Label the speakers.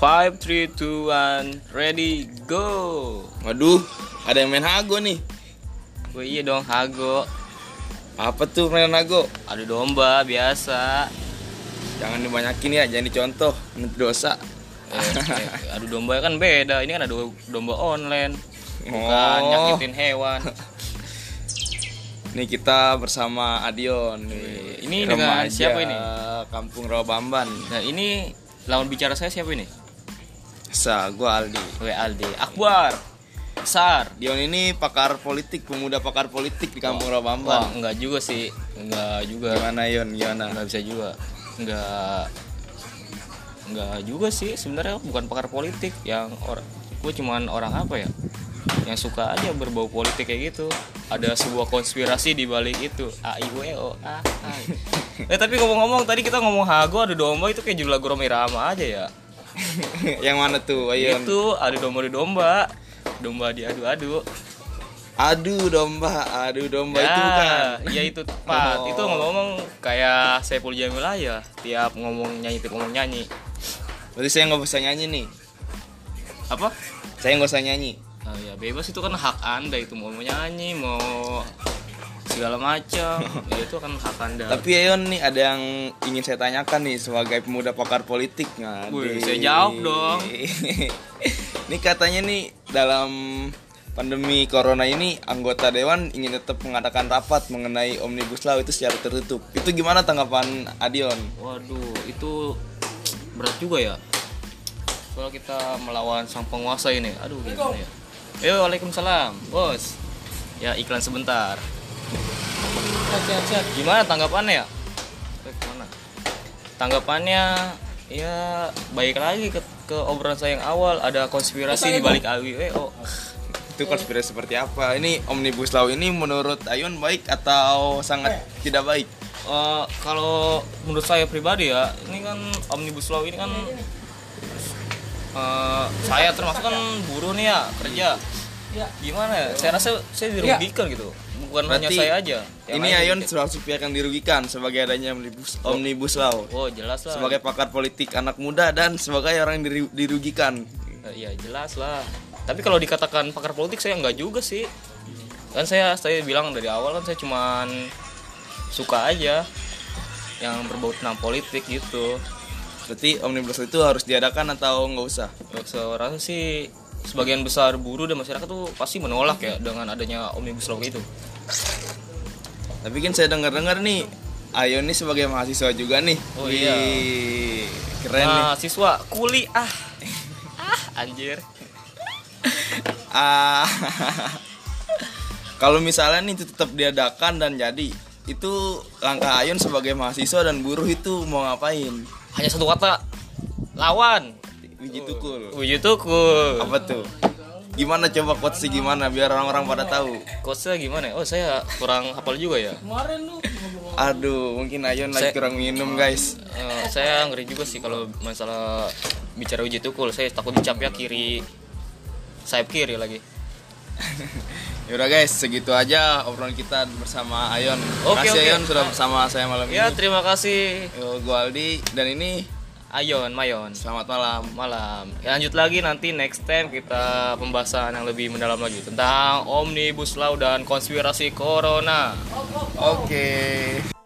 Speaker 1: 5, 3, 2, 1, ready, go
Speaker 2: Waduh, ada yang main hago nih.
Speaker 1: Wah iya dong, Hago
Speaker 2: Apa tuh mainan hago?
Speaker 1: Adu domba, biasa
Speaker 2: Jangan dibanyakin ya, jangan dicontoh. Menurut dosa.
Speaker 1: eh, eh, Adu domba kan beda, ini kan adu domba online Bukan
Speaker 2: Oh,
Speaker 1: nyakitin hewan
Speaker 2: nih kita bersama Adion. nih.
Speaker 1: Ini dengan
Speaker 2: Remaja
Speaker 1: siapa ini?
Speaker 2: Kampung Rawabamban.
Speaker 1: Nah ini lawan bicara saya siapa ini?
Speaker 2: Sa, gua Aldi.
Speaker 1: Oke Aldi, Akbar, Sar
Speaker 2: Dion ini pakar politik, pemuda pakar politik di Kampung
Speaker 1: Wah
Speaker 2: Rawabamban.
Speaker 1: enggak juga sih, enggak juga
Speaker 2: Gimana Yon? Gimana?
Speaker 1: nggak bisa juga nggak nggak juga sih sebenarnya bukan pakar politik yang orang gue cuman orang apa ya yang suka aja berbau politik kayak gitu ada sebuah konspirasi di balik itu a i w o a I. eh tapi ngomong-ngomong tadi kita ngomong hago ada domba itu kayak judul lagu Roma Irama aja ya
Speaker 2: yang mana tuh? Ayon.
Speaker 1: itu ada domba di domba domba diadu-adu
Speaker 2: Aduh domba, aduh domba
Speaker 1: ya,
Speaker 2: itu bukan.
Speaker 1: ya itu tepat.
Speaker 2: Oh.
Speaker 1: Itu ngomong kayak Saipul Jamil aja tiap ngomong nyanyi tiap ngomong nyanyi.
Speaker 2: Berarti saya nggak bisa nyanyi nih.
Speaker 1: Apa?
Speaker 2: Saya nggak usah nyanyi.
Speaker 1: Ah, ya bebas itu kan hak anda itu mau nyanyi mau segala macam ya itu kan hak anda.
Speaker 2: Tapi Ayon nih ada yang ingin saya tanyakan nih sebagai pemuda pakar politik nggak?
Speaker 1: Wih,
Speaker 2: Di-
Speaker 1: saya jawab dong.
Speaker 2: ini katanya nih dalam pandemi corona ini anggota dewan ingin tetap mengadakan rapat mengenai omnibus law itu secara tertutup. Itu gimana tanggapan Adion?
Speaker 1: Waduh itu berat juga ya. Soalnya kita melawan sang penguasa ini. Aduh gimana ya. Eh waalaikumsalam bos. Ya iklan sebentar. Siap, siap, siap. Gimana tanggapannya ya? Eh, Gimana? Tanggapannya ya baik lagi ke, ke obrolan saya yang awal ada konspirasi di balik AWO.
Speaker 2: Itu konspirasi seperti apa? Ini omnibus law ini menurut Ayon baik atau sangat tidak baik?
Speaker 1: Eh, kalau menurut saya pribadi ya, ini kan omnibus law ini kan eh, saya termasuk kan buruh nih ya kerja. Gimana ya? Saya rasa saya dirugikan gitu. Bukan hanya
Speaker 2: Iya. Berarti
Speaker 1: saya aja. yang
Speaker 2: ini
Speaker 1: lain
Speaker 2: Ayon
Speaker 1: juga.
Speaker 2: selalu pihak yang dirugikan sebagai adanya omnibus, omnibus law.
Speaker 1: Oh jelas lah.
Speaker 2: sebagai pakar politik anak muda dan sebagai orang yang diri- dirugikan.
Speaker 1: Eh, Iya jelas lah. Tapi kalau dikatakan pakar politik saya nggak juga sih. Kan saya saya bilang dari awal kan saya cuman suka aja yang berbau tentang politik gitu.
Speaker 2: Berarti omnibus law itu harus diadakan atau nggak usah?
Speaker 1: Saya rasa sih sebagian besar buruh dan masyarakat tuh pasti menolak ya dengan adanya omnibus law itu.
Speaker 2: Tapi kan saya dengar-dengar nih, Ayo nih sebagai mahasiswa juga nih.
Speaker 1: Oh
Speaker 2: Wih,
Speaker 1: iya.
Speaker 2: Keren nih.
Speaker 1: Nah, siswa kuli ah. Ah, anjir.
Speaker 2: Ah. Kalau misalnya nih itu tetap diadakan dan jadi, itu langkah Ayun sebagai mahasiswa dan buruh itu mau ngapain?
Speaker 1: Hanya satu kata. Lawan.
Speaker 2: Wiji tukul.
Speaker 1: Wujud tukul.
Speaker 2: Apa tuh? Gimana coba quotesnya gimana biar orang-orang pada tahu?
Speaker 1: Coachnya gimana? ya? Oh, saya kurang hafal juga ya.
Speaker 2: Aduh, mungkin Ayun lagi
Speaker 1: Saya-
Speaker 2: kurang minum, guys.
Speaker 1: Eh, saya ngeri juga sih kalau masalah bicara uji tukul saya takut dicapnya kiri sayap kiri lagi
Speaker 2: Yaudah Ya guys, segitu aja obrolan kita bersama Ayon.
Speaker 1: Oke,
Speaker 2: Makasih
Speaker 1: oke.
Speaker 2: Ayon sudah bersama saya malam
Speaker 1: ya
Speaker 2: ini.
Speaker 1: terima kasih
Speaker 2: Yo, gua Aldi dan ini
Speaker 1: Ayon Mayon
Speaker 2: selamat malam.
Speaker 1: malam Ya, lanjut lagi nanti next time kita pembahasan yang lebih mendalam lagi tentang omnibus law dan konspirasi corona
Speaker 2: Oke.